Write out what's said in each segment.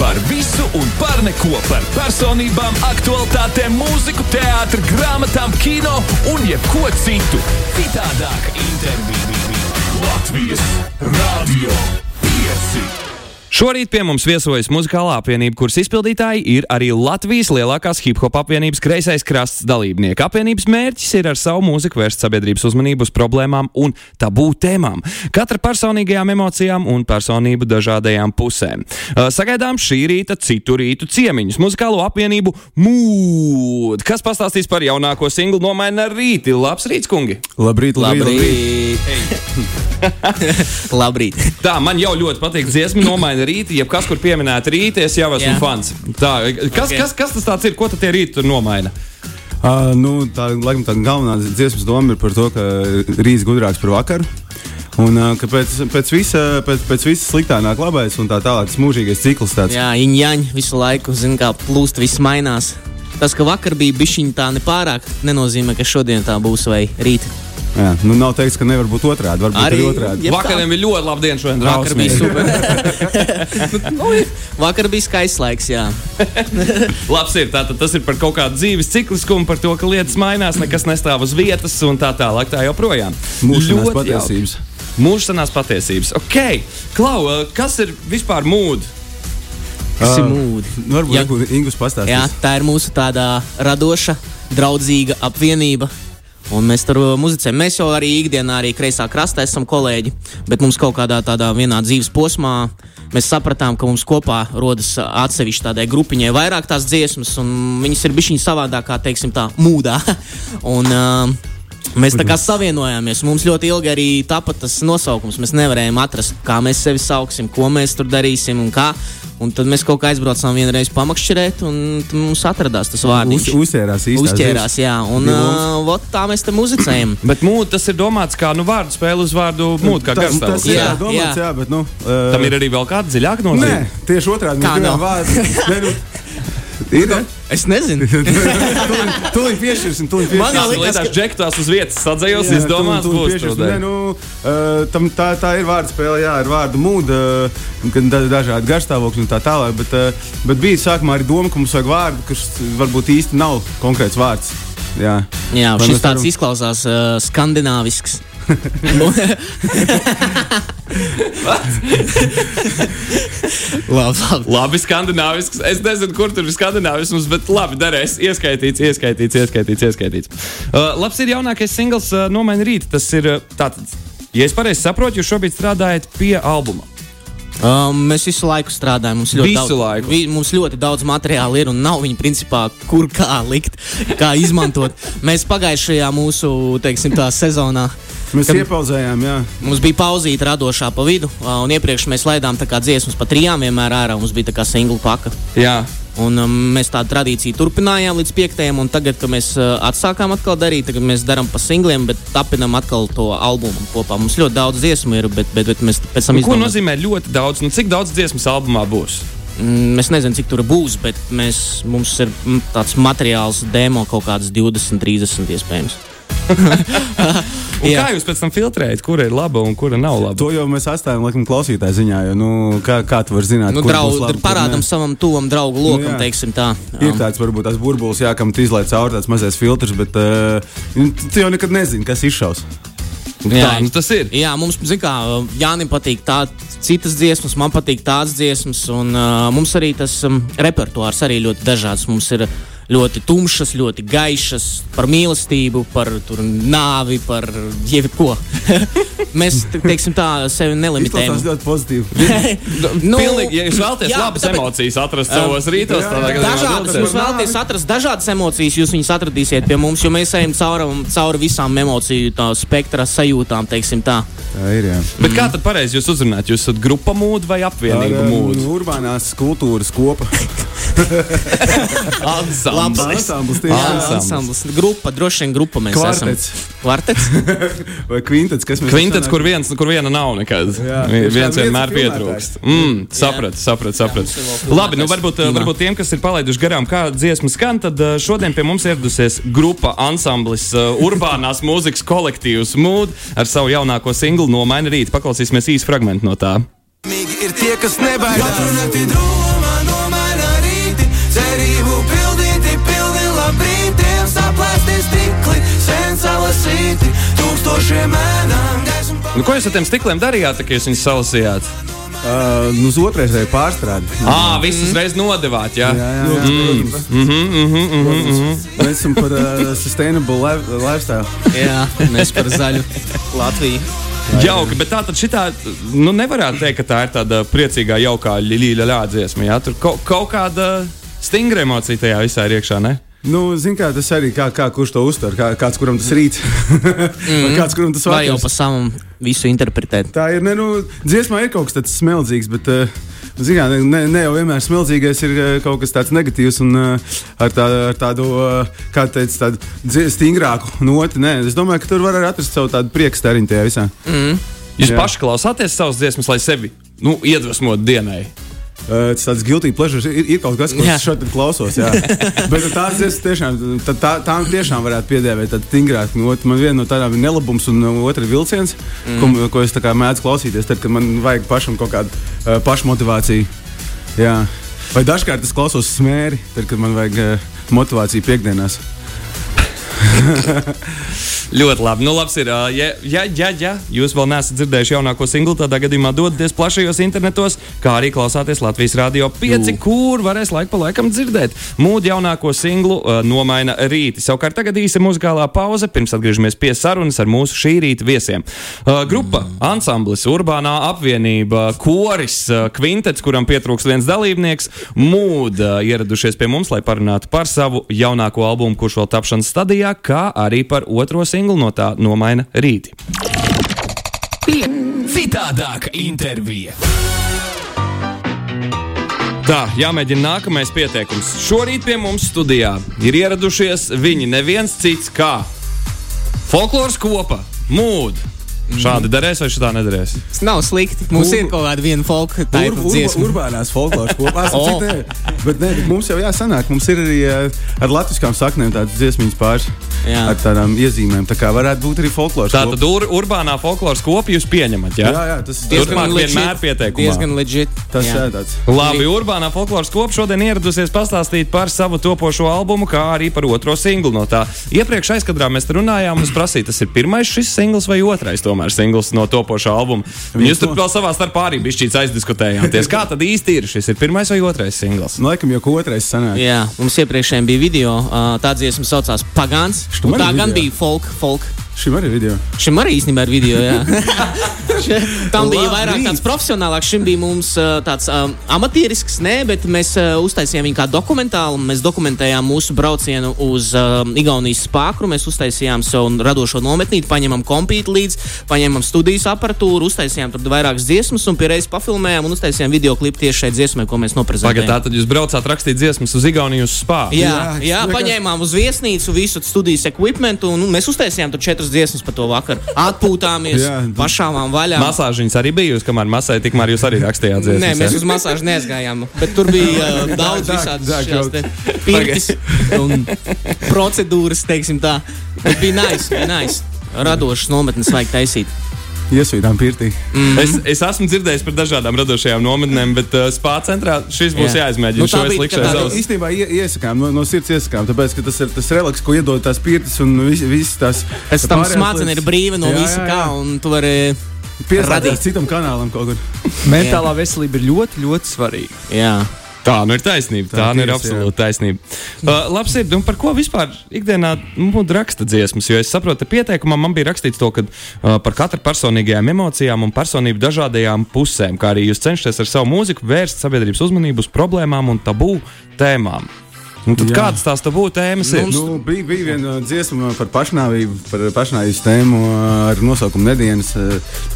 Par visu un par neko. Par personībām, aktualitātēm, mūziku, teātriem, grāmatām, kino un jebko citu. Citādāk, intervija Latvijas Rādio 5. Šorīt pie mums viesojas muzikālā apvienība, kuras izpildītāji ir arī Latvijas lielākās hip hop apvienības kreisais krasts dalībnieki. Apvienības mērķis ir ar savu mūziku vērst sabiedrības uzmanību uz problēmām un tabū tēmām, katra personīgajām emocijām un personību dažādajām pusēm. Eh, Sagaidām šī rīta citu rītu ciemiņus, muzikālo apvienību Mūd, kas pastāstīs par jaunāko singlu nomaina rīti. Labs rīts, kungi! Labrīt, labrīt, labrīt. Labrīt. Tā, man jau ļoti patīk dziesma, nomaina rīta. Ja kas, kur pieminēta rīta, es jau esmu Jā. fans. Tā, kas, okay. Ok. kas, kas tas tāds ir? Ko tad tie rīta tur nomaina? Uh, nu, tā laikam tā galvenā dziesmas doma ir par to, ka rīts gudrāks par vakaru. Un uh, ka pēc, pēc, visa, pēc, pēc visa sliktā nāk labais un tā tālāk. Tas mūžīgais cikls tāds. Jā, Injaņa visu laiku, zina, kā plūst, viss mainās. Tas, ka vakar bija bišķiņa tā nepārāk, nenozīmē, ka šodien tā būs vai rīt. Jā. Nu, nav teiks, ka nevar būt otrādi. Varbūt arī, Arī, arī otrādi. Jeb Jeb tā. Vakariem bija ļoti laba diena šodien. Vakar bija drausmīgi. super. nu, vakar bija skaists laiks, jā. Labs ir. Tātad tas ir par kaut kādu dzīves cikliskumu, par to, ka lietas mainās, nekas nestāv uz vietas un tā tālāk. Tā joprojām. Mūžīgās Ļoti jauki. patiesības. Mūžsanās patiesības. Ok, Klau, uh, kas ir vispār mūds? Tas ir Ā, mūdi. Nu, Varbūt Jā. Ingu- Ingus pastāstīs. Jā, tā ir mūsu tādā radoša, draudzīga apvienība. Un mēs tur uh, muzicējam. Mēs jau arī ikdienā, arī kreisā krastā esam kolēģi. Bet mums kaut kādā tādā vienā dzīves posmā mēs sapratām, ka mums kopā rodas uh, atsevišķi tādai grupiņai vairāk tās dziesmas, un viņas ir bijušas savādākā, teiksim, tā mūdā. un, uh, Mēs tā kā savienojāmies. Mums ļoti ilgi arī tāpat tas nosaukums. Mēs nevarējām atrast, kā mēs sevi sauksim, ko mēs tur darīsim un kā. Un tad mēs kaut kā aizbraucām vienreiz pamakšķerēt, un t- mums atradās tas Uz, vārdiņš. uzķērās īstenībā. Uzķērās, jā. Un Bija uh, vot tā mēs tam muzicējam. Bet mūds tas ir domāts kā nu, vārdu spēle uz vārdu mūds, kā Tas, tas garstāvoklis. ir Jā, jā, domāts, jā. jā. jā, bet nu. Uh, Tam ir arī vēl kāda dziļāka Nē, nozīme. tieši otrādi. Kā mēs gribam nav? vārdu- Nē, nu, Ir, ne? Es nezinu. Tūlīt- Tūlīt piešķirsim, tūlīt Man piešķirsim. jau Tas liekas, liekas, ka ka- džektās uz vietas sadzējos, Jā, izdomās, tu- tu būs piešķirs. trūdē. Nē, nu, uh, tam tā, tā ir vārdspēle, jā, ir vārdu mūde, uh, gan da- dažādi garšstāvokļi un tā tālāk. Bet, uh, bet bija sākumā arī doma, ka mums vajag vārdu, kas varbūt īsti nav konkrēts vārds. Jā, Jā, Vai mēs šis tāds varam- izklausās uh, skandināvisks. labi, labi. Labi, skandināvisks. Es nezinu, kur tur ir skandināvisms, bet labi, darēs. Ieskaitīts, ieskaitīts, ieskaitīts. ieskaitīts. Uh, labs ir jaunākais singls uh, Nomaini rīt. Tas ir uh, tātad, ja es pareizi saprotu, jūs šobrīd strādājat pie albuma. Um, mēs visu laiku strādājam. Mums ļoti, Visu daudz, laiku? Vi, mums ļoti daudz materiāla ir un nav viņa principā, kur kā likt, kā izmantot. mēs pagājušajā mūsu teiksim, tā, sezonā. Mēs kad iepauzējām, jā. Mums bija pauzīte radošā pa vidu, ā, un iepriekš mēs laidām tā kā dziesmas pa trijām vienmēr ārā. Mums bija tā kā singla paka. Jā, Un, um, mēs tādu tradīciju turpinājām līdz piektajam, un tagad, kad mēs uh, atsākām atkal darīt, tagad mēs darām pa singliem, bet apvienam atkal to albumu kopā. Mums ļoti daudz dziesmu ir, bet, bet, bet mēs pēc tam nu, ko izdomājam. nozīmē ļoti daudz? Nu, cik daudz dziesmas albumā būs? Mm, Es nezinu, cik tur būs, bet mēs, mums ir mm, tāds materiāls, demo kaut kāds 20, 30 iespējams. Un Jā. kā jūs pēc tam filtrējat, kura ir laba un kura nav laba? To jau mēs atstājām laikam, klausītāju ziņā, jo nu, kā, kā tu vari zināt, Nu, kur būs draud, labi, kur parādam nē. savam tuvam draugu lokam, jā. teiksim tā. Ir Um, tāds, varbūt tās burbulis, jā, kam tu izlaiž cauri tāds mazais filtrs, bet uh, tu jau nekad nezini, kas izšaus. Tā, nu, tas ir. Jā, mums, zin kā, Jānim patīk tādas citas dziesmas, man patīk tādas dziesmas, un uh, mums arī tas um, repertuārs arī ļoti dažāds. Mums ir ļoti tumšas, ļoti gaišas, par mīlestību, par tur, nāvi, par jebko. Mēs, te- teiksim tā, sevi Tas nelimitējam. ļoti pozitīvi. Nu, Pilnīgi, ja jūs vēlaties jā, labas bet tāpēc- emocijas atrast savos rītos, jā, tad jā, Dažādas jūs vēlaties atrast, dažādas emocijas jūs viņus atradīsiet pie mums, jo mēs ejam cauri, cauri visām emociju tā, spektra sajūtām, teiksim tā. Tā ir, jā. Bet kā tad pareizi jūs uzrunājat? Jūs esat grupa mūde vai apvienība Ar, mūde? um, Urbānās kultūras kopa. Ansamblis. Labs. Ansamblis Jā, tieši tā. Ansamblis. ansamblis. Grupa, droši vien grupa mēs Kvartets. esam. Kvartets. Vai kvintets, kas mums Kvintets, kur viens, nu, kur viena nav nekad. Jā, nu, viens, Jā, tieši tā, viens viens vienmēr ir pietrūkst. Mm, sapratu, sapratu, mums ir vēl sapratu. filmētājs. Labi, nu varbūt, eh, Jā. varbūt tiem, kas ir palaiduši garām, kā dziesma skan, tad eh, šodien pie mums ieradusies grupa ansamblis eh, Urbānās mūzikas kolektīvs Mood ar savu jaunāko singlu Nomaini rīt. Paklausīsimies īsu fragment no tā. Mīgi ir tie, kas nebaidās. Paturēti domā, domā, stikli, sensalasīti, tūkstošiem mēnām gaismu Nu, ko jūs ar tiem stikliem darījāt, tā, kad jūs viņus salasījāt? Uh, nu, uz otrais vai pārstrādi. Ā, visus mm. reiz nodevāt, jā. Jā, jā. jā, jā. Mm. Mm -hmm, mm -hmm. Mēs esam par uh, sustainable life, lifestyle. Jā, mēs par zaļu Latviju. Jauki, bet tā tad šitā, nu, nevarētu teikt, ka tā ir tāda priecīgā, jaukā līļa ļādziesma, jā. Tur kaut, kaut kāda stingra emocija tajā visā ir iekšā, ne? Nu, zin kā, tas arī kā, kā kurš to uztver, kā, kāds kuram tas rīt, mm. kāds kuram tas Vai jau vakars. pa savam visu interpretēt? Tā ir, ne, nu, dziesmā ir kaut kas tāds smeldzīgs, bet, uh, zin kā, ne, ne jau vienmēr smeldzīgais ir uh, kaut kas tāds negatīvs un uh, ar, tā, ar tādu, uh, kā teica, tādu dzie- stingrāku noti. Nē, es domāju, ka tur var arī atrast savu tādu priekstariņu tajā visā. Jūs Jā. paši klausāties savas dziesmas, lai sevi, nu, iedvesmot dienai. Uh, Tas tāds guilty pleasure ir, ir kaut kas, ko Jā. es šodien klausos. jā. Bet tās dziesmas tiešām, tā, tā, tām tiešām varētu piedēvēt tādu stingrāku notu. Man viena no tādām ir nelabums, un uh, otra ir vilciens, mm. ko, ko es tā kā mēdzu klausīties, tad, kad man vajag pašam kaut kādu uh, pašmotivāciju. Jā. Vai dažkārt es klausos smēri, tad, kad man vajag uh, motivāciju piekdienās. Ļoti labi. Nu, labs ir, ā, ja, ja, ja, ja jūs vēl neesat dzirdējuši jaunāko singlu, tādā gadījumā dodieties plašajos internetos, kā arī klausāties Latvijas Rādio 5, kur varēs laiku pa laikam dzirdēt. Mūdu jaunāko singlu ā, nomaina rīti. Savukārt tagad īsa muzikālā pauze, pirms atgriežamies pie sarunas ar mūsu šī rīta viesiem. Ā, Grupa, ansamblis, urbānā apvienība, koris, ā, kvintets, kuram pietrūks viens dalībnieks, mūda ieradušies pie mums, lai parunātu par savu jaunāko albumu, kurš vēl tapšanas stadijā, kā arī par otro singlu no tā nomaina rīti. Citādāka intervija. Tā, jāmēģina nākamais pieteikums. Šorīt pie mums studijā ir ieradušies viņi neviens cits kā folkloras kopa, mūda. Šādi darēs vai šādi nedarēs? Tas nav slikti. Mums Ur- ir kaut kāda viena folka Ur, taipa ur, dziesma. Oh. urbānās folkloras kopā. Es O. saprotu, bet, nē, bet mums jau jāsanāk. Mums ir arī ā, ar latviskām saknēm tādas dziesmas pāris. Jā. Ar tādām iezīmēm. Tā kā varētu būt arī folkloras Tā tad ur, urbānā folkloras kopa jūs pieņemat. Ja? Jā, jā, jā tas ir Turpmāk vienmēr pieteikumā. Diezgan legit. tas jā. ir tāds. Labi, Urbānā folkloras kopa šodien ieradusies pastāstīt par savu topošo albumu, kā arī par otro singlu no tā. Iepriekš aizkadrā mēs te runājām, un es prasīju, tas ir pirmais šis singls vai otrais tomēr singls no topošā albuma. Un Jūs tur vēl savā starpā arī bišķīts aizdiskutējāties. Kā tad īsti ir? Šis ir pirmais vai otrais singls? Nu, laikam jau ko otrais sanāk. Jā, mums iepriekšējiem bija video. ā, Tā dziesma saucās Pagāns. Štum un Tā arī gan video. bija folk, folk. Šim arī video. Šim arī īstenībā ir video. jā. Še- Tam bija vairāk Labrīt. tāds profesionāls, šim bija mums ā, tāds um, amatierisks, nē, bet mēs uh, uztaisījām viņu kā dokumentālu. Mēs dokumentējām mūsu braucienu uz um, Igaunijas spāru. Mēs uztaisījām savu radošo nometnīti, paņēmām kompītu līdzi, paņēmām studijas aparatūru, uztaisījām tur vairākas dziesmas un pierreiz pafilmējām un uztaisījām video klipu tieši šai dziesmai, ko mēs Tagad noprezentējām. tā tad jūs braucāt rakstīt dziesmas uz Igauniju uz spāru. Jā, Jā, jā, jā vienkārši- paņēmām uz viesnīcu visu studijas ekvivalentu, un nu, mēs uztaisījām tur četras dziesmas par to vakaru. Atpūtāmies, Jā. pašāvām vaļā. Masāžiņas arī bija, jūs, kamēr masai, tikmēr jūs arī rakstījāt dziesmas. Nē, mēs ja? uz masāžu neaizgājām. Bet tur bija uh, daudz Dāk, dāk, dažādu pierādījumu, un procedūras, teiksim tā. Bet bija nice, bija nice. Radošas nometnes vajag taisīt. Iesvītām pirtī. Es, es esmu dzirdējis par dažādām radošajām nometnēm, bet uh, spāņu centrā šis būs Jā. jāizmēģina. Nu, Nu, tā Šo es bija likšu tā aiz kā- auss. Īstenībā ie, iesakām, no, no sirds iesakām, tāpēc, ka tas ir tas relaks, ko iedod tās pirtis un vis- visas tās. Pēc tam pārējās smadzenes ir lietas. brīva no Jā, visa jā, kā, jā. un tu vari. Pieslēdzās radīt. citam kanālam kaut kur. Mentālā veselība ir ļoti, ļoti svarīga. Jā. Tā nu ir taisnība. Tā, tā Tā nu ir tiesa, absolūta taisnība. Uh, labi, sirdi, un par ko vispār ikdienā nu, raksta dziesmas? Jo es saprotu, ka pieteikumā man bija rakstīts to, ka uh, par katru personīgajām emocijām un personību dažādajām pusēm, kā arī jūs cenšaties ar savu mūziku vērst sabiedrības uzmanību uz problēmām un tabū tēmām. Un tad Jā. kādas tās tabū tēmas ir? Nu, bija, bija viena uh, dziesma par pašnāvību, par pašnāvības tēmu uh, ar nosaukumu Nedēļas.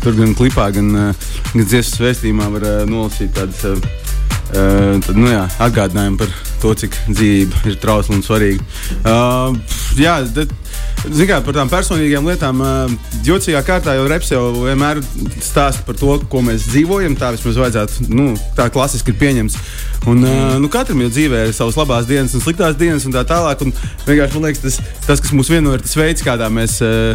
Tur gan klipā, gan, uh, gan dziesmas vēstījumā var uh, nolasīt tādas uh, uh, tad, nu, jā, atgādinājumu par to, cik dzīvība ir trausla un svarīga. Uh, pf, Jā, bet, zin kā, par tām personīgām lietām, uh, jocīgā kārtā jau reps jau vienmēr stāsta par to, ko mēs dzīvojam. Tā vismaz vajadzētu, nu, tā klasiski ir pieņemts. Un, uh, nu, katram jau dzīvē ir savas labās dienas un sliktās dienas un tā tālāk. Un vienkārši man liekas, tas, tas kas mums vieno, ir tas veids, kādā mēs. Uh,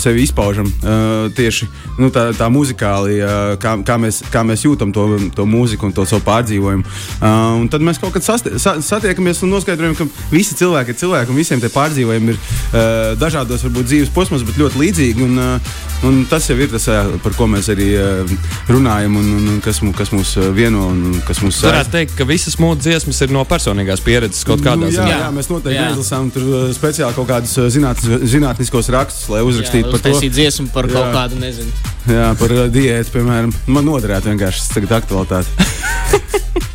sevi izpaužam uh, tieši nu, tā, tā muzikāli, uh, kā, kā, mēs, kā mēs jūtam to, to mūziku un to savu pārdzīvojumu. Uh, un tad mēs kaut kad sasti- sa- satiekamies un noskaidrojam, ka visi cilvēki ir cilvēki un visiem tie pārdzīvojumi ir uh, dažādos varbūt dzīves posmos, bet ļoti līdzīgi. Un, uh, un tas jau ir tas, uh, par ko mēs arī uh, runājam un, un, un kas, mū, kas mūs uh, vieno un un kas mūs saista. Varētu teikt, ka visas mūža dziesmas ir no personīgās pieredzes kaut kādā Nu, jā, ziņā. jā, mēs noteikti Jā. neizlasām tur uh, speciāli kaut kādus uh, zinātnis, zinātniskos rakstus, lai uzrakstītu par to. Uztaisīt dziesmu par Jā. kaut kādu, nezinu. Jā, par uh, diētu, piemēram. Man noderētu vienkārši tas tagad aktualitāte.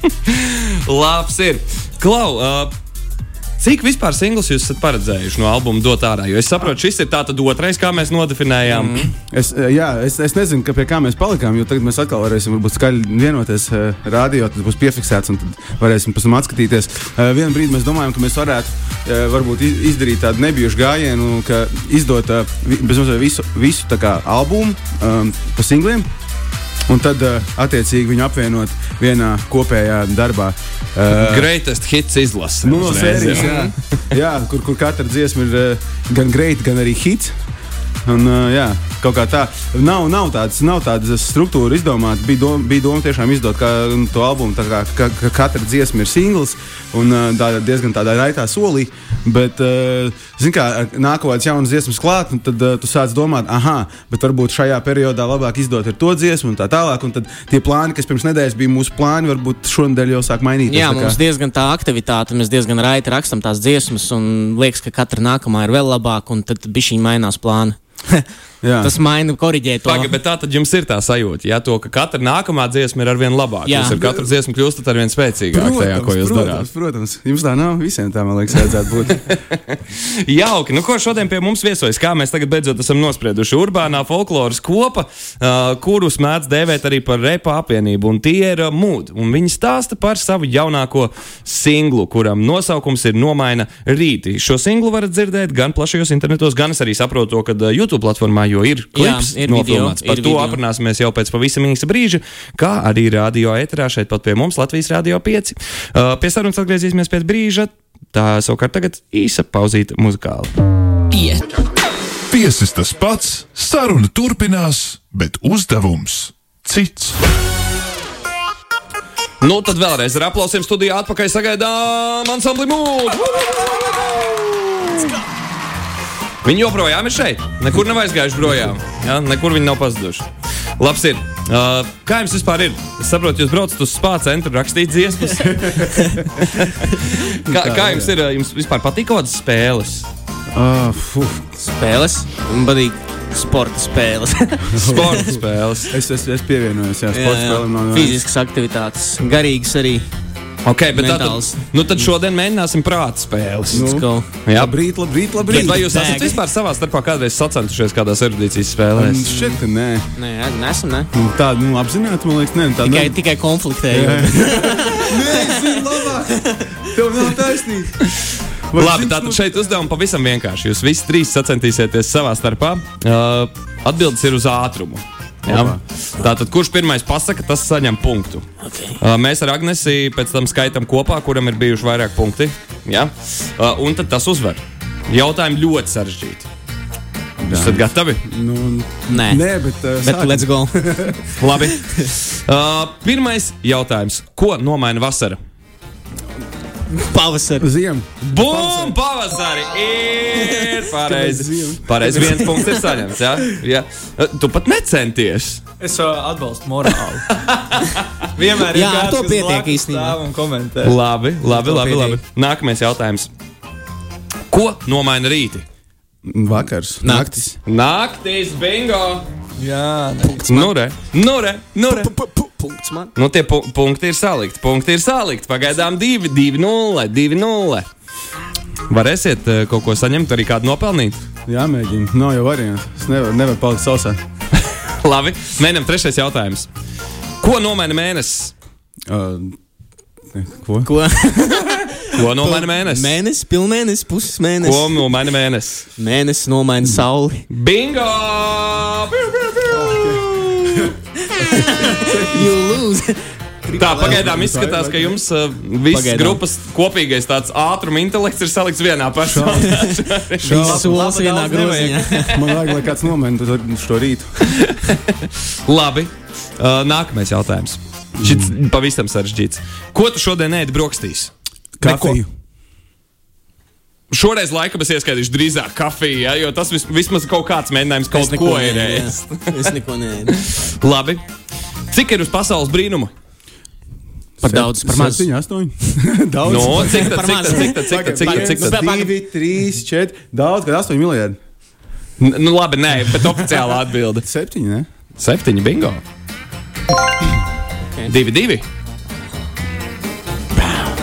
Labs ir. Klau, uh, cik vispār singlus jūs esat paredzējuši no albuma dot ārā? Jo es saprotu, šis ir tātad otrais, kā mēs nodefinējām. Mm. Es, uh, jā, es, es nezinu, ka pie kā mēs palikām, jo tagad mēs atkal varēsim varbūt skaļi vienoties uh, radio, tad būs piefiksēts un tad varēsim pēc tam atskatīties. Uh, Vienu brīdi mēs domājam, ka mēs varētu uh, varbūt i- izdarīt tādu nebijušu gājienu, ka izdot uh, vi- bez mazliet visu, visu tā kā albumu um, pa singliem. Un tad, uh, attiecīgi, viņu apvienot vienā kopējā darbā. Uh, Greatest hits izlase. Nu, no Uzreiz, sērijas, jā. jā, kur, kur katra dziesma ir eh, gan greita, gan arī hits. Un, eh, jā, kaut kā tā. Nav, nav, tāds, nav tādas struktūras izdomāta. Bija, dom, bija doma tiešām izdot kā, nu, to albumu, tā kā ka, ka katra dziesma ir singls un eh, tā, diezgan tādā raitā solī. Bet, eh, zin kā, nāk kaut kāds jauns dziesmas klāt, un tad eh, tu sāc domāt, ah, bet varbūt šajā periodā labāk izdot ir to dziesmu un tā tālāk. Un tad tie plāni, kas pirms nedēļas bija mūsu plāni, varbūt šonadēļ jau sāk mainīties. Jā, tā kā. mums diezgan tā aktivitāte, mēs diezgan raiti rakstām tās dziesmas, un liekas, ka katra nākamā ir vēl labāka, un tad bija šī mainās plāna. Jā. Tas maina, korģē to. Paga, bet tā tad jums ir tā sajūta, ja to, ka katra nākamā dziesma ir arvien labāka. Jā. Jūs ar katru dziesmu kļūstat arvien spēcīgāk tajā, ko jūs darāt. protams, protams, jums tā nav. Visiem tā, man liekas, vajadzētu būt. Jauki, nu ko šodien pie mums viesojas, kā mēs tagad beidzot esam nosprieduši. Urbānā folkloras kopa, uh, kurus mēdz dēvēt arī par repa apvienību, un tie ir mūdi. Viņi stāsta par savu jaunāko singlu, kuram nosaukums ir Nomaina rīti. Šo singlu varat dzirdēt gan plašajos internetos, gan es arī saprotu to, ka YouTube platformā jau ir klips ir video, nofilmēts. Par ir to video. aprunāsimies jau pēc pavisam īsa brīža, kā arī radio eterā šeit pat pie mums Latvijas Rādio 5. Uh, pie sarunas atgriezīsimies pēc brīža. Tā savukārt tagad īsa pauzīte muzikāli. Tiesis tas pats, saruna turpinās, bet uzdevums cits. Nu, tad vēlreiz ar aplausiem studijā atpakaļ sagaidām ansambli mūziku. Viņi joprojām ir šeit. Nekur nav aizgājuši projām. Ja? Nekur viņi nav pazuduši. Labs ir. Uh, kā jums vispār ir? Es saprotu, jūs braucat uz spāņu centru rakstīt dziesmas. kā, kā jums ir? uh, Jums vispār patīk kaut kādas spēles? Ah, fu, Spēles, man patīk sporta spēles. Sporta spēles. es, es, es pievienojos, jā, Jā, sports jā. spēlēm. nav- Fiziskas aktivitātes, garīgas arī. Okay, bet tad, Mentāls. nu, tad šodien mēģināsim prāta spēles. Let's Nu. go. Jā, Labrīt, labrīt, Bet labrīt. vai jūs esat Dēgi. vispār savā starpā kādreiz sacentušies kādās erudīcijas spēlēs? Šķiet, Mm, ka nē. Nē, nesam, ne? Nu, tā, nu, apzināti, man liekas, nē, tā Tikai, nav. tikai konfliktēju. Nē, zini labāk. Tev nav taisnība. Vai Labi, zini, tātad nu- šeit uzdevums pavisam vienkārši. Jūs visi trīs sacentīsieties savā starpā. Uh, atbildes ir uz ātrumu. Jā. Tātad, kurš pirmais pasakā, tas saņem punktu. Okay. Uh, mēs ar Agnēsiju pēc tam skaitām kopā, kuram ir bijuši vairāk punkti. Jā. Uh, un tad tas uzvar. Jautājumi ļoti sarežģīti. Jūs esat gatavi? Nu, Nē, nē, bet. Uh, bet let's go. Labi. Uh, pirmais jautājums. Ko nomaina vasara? Pavasar. Ziem. Bum! Pavasarī ir pareizi. Kāpēc? Pareizi viens punkts ir saņemts. Jā? Jā. Tu pat necenties. Es uh, atbalstu morāli. Vienmēr ir Jā, ar kāds, to kas pietiek blakus īstenībā. stāv Un komentē. Labi, labi, to labi, pēdējo. labi. Nākamais jautājums. Ko nomaina rīti? Vakars. Naktis. Naktīs bingo! Jā, nē. Nu, re, nu, re, nu, re. Punkts man. Nu, tie pu punkti ir salikti. Punkti ir salikti. Pagaidām 2, 2, 0, 2, 0. Varēsiet eh, kaut ko saņemt, arī kādu nopelnīt. Jā, mēģini. Nav jau variants. Es nevaru nevar palikt sausā. Labi, mēģinām trešais jautājums. Ko nomaina mēnesis? Uh, ko? Ko? Ko nomaina mēnesis? Mēnesis, pilnmēnesis, puses Ko mēnesis. no manas mēnesis? Mēnesis nomaina sauli. Bingo! Piu, piu, piu! You lose. Tā pagaidām izskatās, ka jums uh, visas Pagaidām. grupas kopīgais tāds ātruma intelekts ir salikts vienā pašā. Šīs solis vienā groziņā. Man vajag, lai kāds nomēna to, to rītu. Labi, uh, nākamais jautājums. Šis pavisam sarežģīts. Ko tu šodien ēdi brokastīs? Kafiju. Šoreiz laikam es ieskaidrošu drīzāk kafiju, ja, jo tas vis, vismaz kaut kāds mēģinājums Es kaut neko ko ir neēdu, ēst. jā. Es neko neēdu. Labi. Cik ir uz pasaules brīnumu? Par daudz, par maz. 7, 8. daudz. Nu, No, cik tā, Par cik tā, maz. cik tā, cik tā, cik tā, cik tā. tad? Divi, trīs, četri. Daudz, kad 8 miljardi. Nu, labi, nē, bet oficiāla atbilde. Septiņi, ne? Septiņi, bingo. Divi, divi.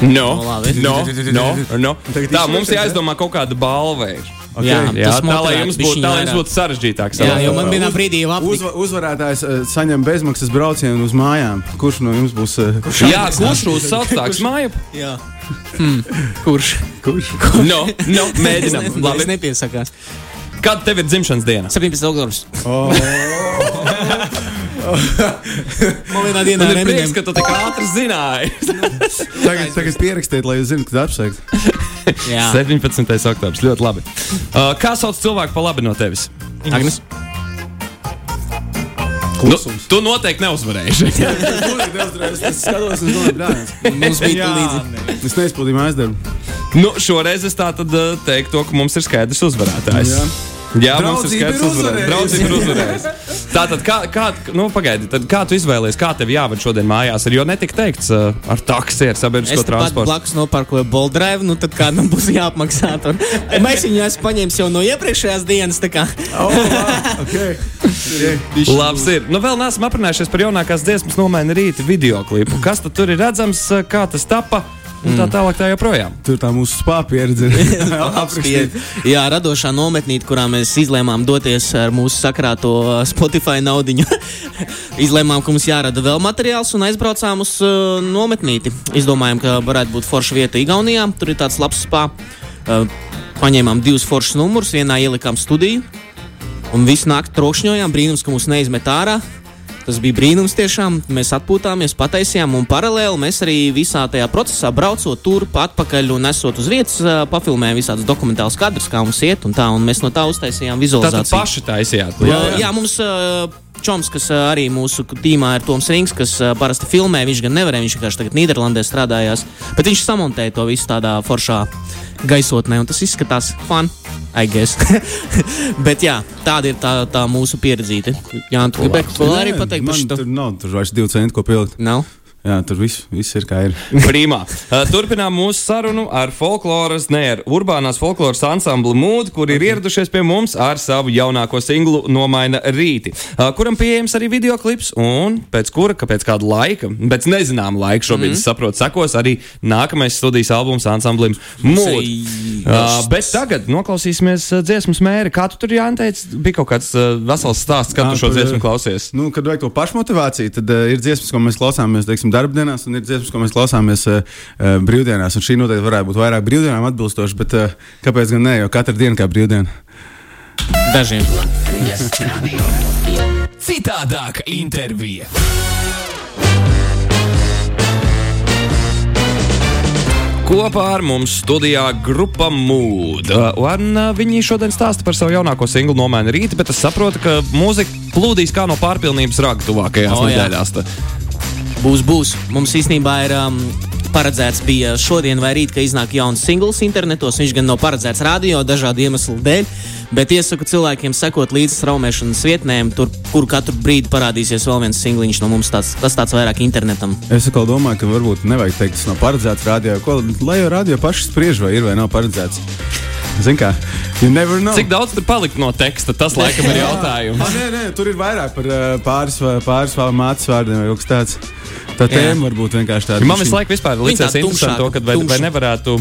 No, labi. no, no, no. Tagad Tā, mums izšķirsies, jāizdomā kaut kāda balva. ir. Jā, Jā, tas tā lai motivētu jums būtu, bišķiņu tā, lai jums vairāk. būtu sarežģītāk. Jā, savādāk. jo man vienā brīdī jau apnika. Uzva, uzvarētājs uh, saņem bezmaksas braucienu uz mājām. Kurš no jums būs? Uh, kurš? Jā, kurš uzsauc tādu māju? Jā. Kurš? kurš? No, no, mēģinām. Es ne- Es Labi. nepiesakās. Kad tev ir dzimšanas diena? 17. oktobris. Oh, Man vienā dienā Man ir ir prieks, Eminem. ka tu tik ātri zināji. tagad, tagad pierakstiet, lai jūs zinātu, kad apsveikt. Jā, 17. oktobris, ļoti labi. Uh, kā sauc cilvēku pa labi no tevis? Agnes. Nu, tu noteikti neuzvarēsi. Es skatos, un domāju, brālis. Mums bija līdzi. Es neizpildīju mājas darbu. nu, šoreiz es tā tad uh, teiktu, to, ka mums ir skaidrs uzvarētājs. Jā. Jā, mums ir Draudzība skaidrs ir uzvarētājs. uzvarējusi. Draudzība ir uzvarējusi. Tātad, kā, kā, nu, pagaidi, tad kā tu izvēlējies, kā tev jāved šodien mājās? Ir, jo netika teikts uh, ar taksi, ar Es sabiedrisko tāpat transportu. blakus nopērkoju Boldrive, nu tad kādam būs jāapmaksā. Tur. Mēs viņu esam paņēmuši jau no iepriekšējās dienas. tā kā. Okay. Labs ir. Nu, vēl neesam aprunājušies par jaunākās dziesmas nomaini rīta video klipu. Kas tad tur ir redzams, eh, kā tas tapa un tā tālāk tā joprojām. Tur tā mūsu spā pieredze ir aprakstīta. Jā, radošā nometnīte, kurā mēs izlēmām doties ar mūsu sakrāto uh, Spotify naudu. izlēmām, ka mums jārada vēl materiāls un aizbraucām uz uh, nometnīti. Izdomājām, ka varētu būt forša vieta Igaunijā. Tur ir tāds labs spā. Uh, paņēmām divus foršus numurus, vienā ielikām studiju. Un viss naktī trokšņojām, brīnums, ka mūs neizmet ārā. Tas bija brīnums tiešām. Mēs atpūtāmies, pataisījām, un paralēli mēs arī visā tajā procesā braucot turp, atpakaļ un esot uz vietas, ā, papilmējām visādus dokumentālus kadrus, kā mums iet, un tā, un mēs no tā uztaisījām Tātad vizualizāciju. paši taisījāt. jā, jā, mums ā, Čoms, kas ā, arī mūsu k- tīmā ir Toms Rings, kas ā, parasti filmē, viņš gan nevarēja, viņš vienkārši tagad Nīderlandē strādājās, bet viņš samontēja to visu tādā foršā gaisotnē, un tas izskatās fun, I guess. bet jā, tāda ir tā, tā mūsu pieredzīte. Jā, tu gribētu vēl arī pateikt par man šo? tur nav, tur vairs divu centu, ko pielikt. Nav. Jā, tur viss, viss ir kā ir. Prīmā. Uh, Turpinām mūsu sarunu ar folkloras, ne ar urbānās folkloras ansambli Mūdu, kur ir ieradušies pie mums ar savu jaunāko singlu Nomaina rīti, uh, kuram pieejams arī video klips, un pēc kura, ka pēc kāda laika, pēc nezināma laika šobrīd, mm -hmm. saprotu, sekos arī nākamais studijas albums ansamblim Mūdu. Uh, bet tagad noklausīsimies uh, dziesmas mēri. Kā tu tur jānteic, bija kaut kāds uh, vesels stāsts, kā tu Ā, šo par, dziesmu klausies. Nu, kad vajag to pašmotivāciju, tad uh, ir dziesmas, ko mēs klausāmies teiksim, darbdienās, un ir dziesmas, ko mēs klausāmies uh, uh, brīvdienās. Un šī noteikti varētu būt vairāk brīvdienām atbilstoša, bet uh, kāpēc gan ne? Jo katra diena kā brīvdiena. Dažiem. Citādāka intervija. Kopā ar mums studijā grupa Mood. Uh, Un uh, viņi šodien stāsta par savu jaunāko singlu nomaini rīta, bet es saprotu, ka mūzika plūdīs kā no pārpilnības raga tuvākajās oh, O, jā. nedēļās. Tad. Būs, būs. Mums īstenībā ir um, paredzēts, bija šodien vai rīt, ka iznāk jauns singls internetos. Viņš gan nav paredzēts radio dažādu iemeslu dēļ, bet iesaku cilvēkiem sekot līdzi straumēšanas vietnēm, tur, kur katru brīdi parādīsies vēl viens singliņš no mums. Tāds, tas tāds vairāk internetam. Es atkal domāju, ka varbūt nevajag teikt, tas nav paredzēts radio. Ko, lai jau radio paši spriež, vai ir vai nav paredzēts. Ziniet, kā? You never know. Cik daudz tur palikt no teksta? Tas laikam ir jautājums. Ah, nē, nē, tur ir vairāk par uh, pāris, vai- pāris mācību vārdiem vai kaut kas tāds. Tā tēma varbūt vienkārši tāda. Man visu laiku vispār Viņa likās interesanti, tāda to, tumšāka, ka vai, vai tumša. nevarētu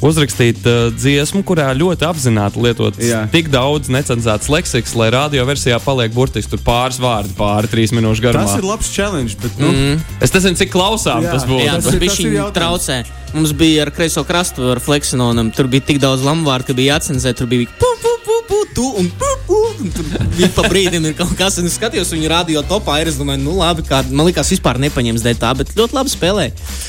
uzrakstīt uh, dziesmu, kurā ļoti apzināti lietot Jā. tik daudz necenzētas leksikas, lai radio versijā paliek burtiski tur pāris vārdi, pāri trīs minūšu Tas garumā. ir labs challenge, bet nu, mm. Es nezinu, cik klausām Jā. tas būtu. Jā, Tas tas ir- bija tas ir viņa jautājums. traucē. Mums bija ar kreiso krastu, ar fleksinonam. Tur bija tik daudz lamuvārdu, ka bija jācenzē. Tur bija pum, pum, pum, putu un pupu. un tur bija Pa brīdim ir kaut kas, un es skatījos viņu radio topā. Ir, es domāju, nu labi, kā, man liekas, vispār nepaņems dēļ tā, bet ļoti labi spēlē.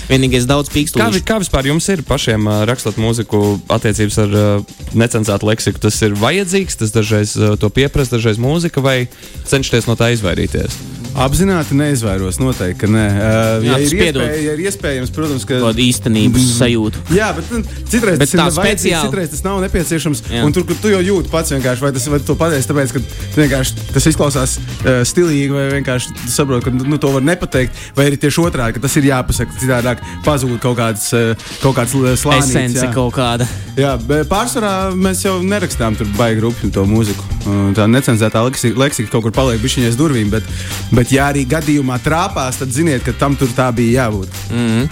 Vienīgais daudz Kā, vi- pīkstūšu. kā vispār jums ir pašiem ā, rakstot mūziku, attiecības ar ā, necenzētu leksiku? Tas ir vajadzīgs, tas dažreiz ā, to pieprasa, dažreiz mūzika, vai cenšaties no tā izvairīties? Apzināti neizvairos, noteikti, ka nē. Uh, Jā, ja, tas ir piedod. iespēja, ja ir iespējams, protams, ka. Tāda Mm. īstenības sajūta. Jā, bet nu, citreiz Bet bet tas ir tā vajadzīgs, speciāli. citreiz tas nav nepieciešams. Jā. Un tur, kur tu jau jūti pats vienkārši, vai tas vai tu to pateici, tāpēc, ka tu vienkārši tas izklausās uh, stilīgi, vai vienkārši tu saproti, ka nu, to var nepateikt, vai arī tieši otrādi, ka tas ir jāpasaka, citādāk pazūd kaut kāds, uh, kaut kāds l- slānis. Esence jā. kaut kāda. Jā, bet pārsvarā mēs jau nerakstām tur baigi rupju to mūziku. Un Tā necenzētā leksi- leksika kaut kur paliek bišķiņā aiz durvīm, bet, bet ja arī gadījumā trāpās, tad ziniet, ka tam tur tā bija jābūt. Mm Mhm. -hmm.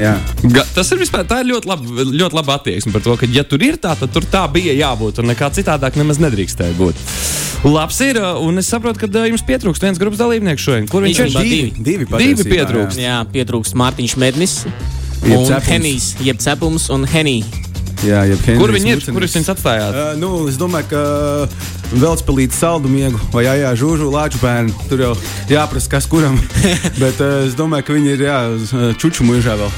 Jā. Ga, tas ir vispār tā ir ļoti laba, ļoti laba attieksme par to, ka, ja tur ir tā, tad tur tā bija jābūt. Un nekā citādāk nemaz nedrīkstēja būt. Labs ir, uh, un es saprotu, ka ā, jums pietrūkst viens grupas dalībnieks šodien. Kur viņš Īstenībā ir? divi. divi, Divi patiesībā, pietrūkst. Jā, pietrūkst Mārtiņš Mednis. Jeb Un cepums. Henijs, jeb cepums un Henijs. Jā, jā, jā Kur viņi ir? Kur jūs viņus atstājāt? Uh, nu, es domāju, ka Velspēlīte saldumiegu vai Jāja Žužu lāču bērnu. Tur jau jāprasa, kas kuram. Bet uh, es domāju, ka viņi ir jā, uz, ā, čuču mūžā vēl.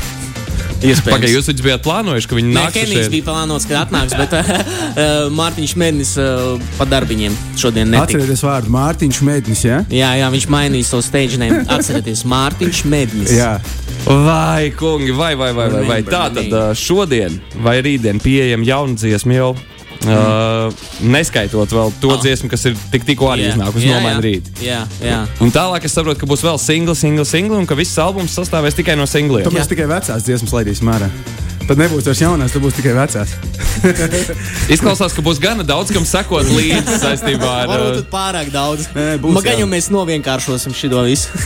Pagaidām, jūs viņus bijat plānojuši, ka viņi Nē, nāks Kenijs bija plānots, ka atnāks, bet uh, Mārtiņš Mēnesis uh, pa darbiņiem šodien netika. Atcerieties vārdu Mārtiņš Mētnis, jā? Jā, jā, viņš mainīja savu stage name. Atcerieties, Mārtiņš Mēnesis. Jā. Vai, kungi, vai, vai, vai, vai, vai. Remember tā tad me. ā, šodien vai rītdien pieejama jauna dziesma jau. Uh, neskaitot vēl to oh. Mm. Ah. dziesmu, kas ir tik, tikko arī iznākusi no manas rīta. Jā, jā. Un tālāk es saprotu, ka būs vēl singla, singla, singla, un ka viss albums sastāvēs tikai no singliem. Tad mēs tikai vecās dziesmas laidīsim ārā. Tad nebūs vairs jaunās, tad būs tikai vecās. Izklausās, ka būs gana daudz, kam sekot līdzi saistībā ar. Varbūt ā, tur pārāk daudz. eh, Nē, būs, jā. Magaņu mēs novienkāršosim šo visu.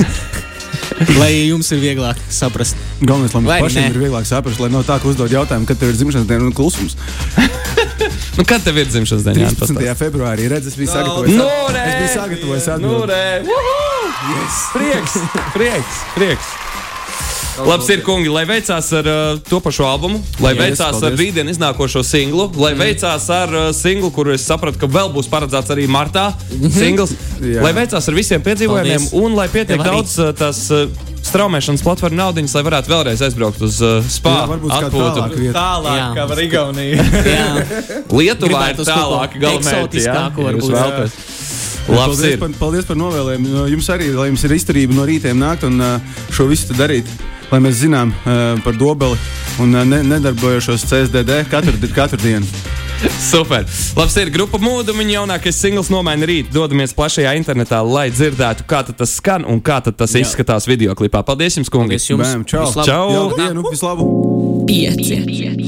Lai jums ir vieglāk saprast. Galvenais, lai mums Vai pašiem ne? ir vieglāk saprast, lai nav tā, ka uzdod jautājumu, kad tev ir dzimšanas diena un klusums. Nu, kad tev ir dzimšanas diena? Jānis, 13. pastāsti? februārī redzēs, bija sagatavots. Nu, re! es biju sagatavojis Nu, atbildi. re! Woohoo! Prieks, prieks, prieks. Labs ir, kungi, lai veicās ar uh, to pašu albumu, lai Yes, veicās ar paldies. Mm. rītdien iznākošo singlu, lai veicās ar uh, singlu, kuru es sapratu, ka vēl būs paredzēts arī martā. Singls, Mhm. Jā. lai veicās ar visiem piedzīvojumiem, Paldies. un lai pietiek Tev arī. daudz uh, tās uh, straumēšanas platformu naudas, lai varētu vēlreiz aizbraukt uz uh, Jā, spāru. varbūt kādā tālāk vietā. Tālāk, Jā. kā var Igaunija. Jā, Lietuvā ir Gribētu uz kaut tālāk, ko galvenais. eksotiskāku varbūt. Labs paldies, ir. par, paldies par novēlējumu. Jums arī, lai jums ir izturība no rītiem nākt un ā, šo visu te darīt. Lai mēs zinām uh, par dobeli un uh, ne, nedarbojošos CSDD katru, di- katru dienu. Super. Labs ir grupa mūda, un viņa jaunākais singls nomaina rīt. Dodamies plašajā internetā, lai dzirdētu, kā tad tas skan un kā tad tas Jā. izskatās videoklipā. Paldies jums, kungi! es Oh. jums Bēm, čau! vislabāk. Čau! Jauku dienu, vislabāk! pieci.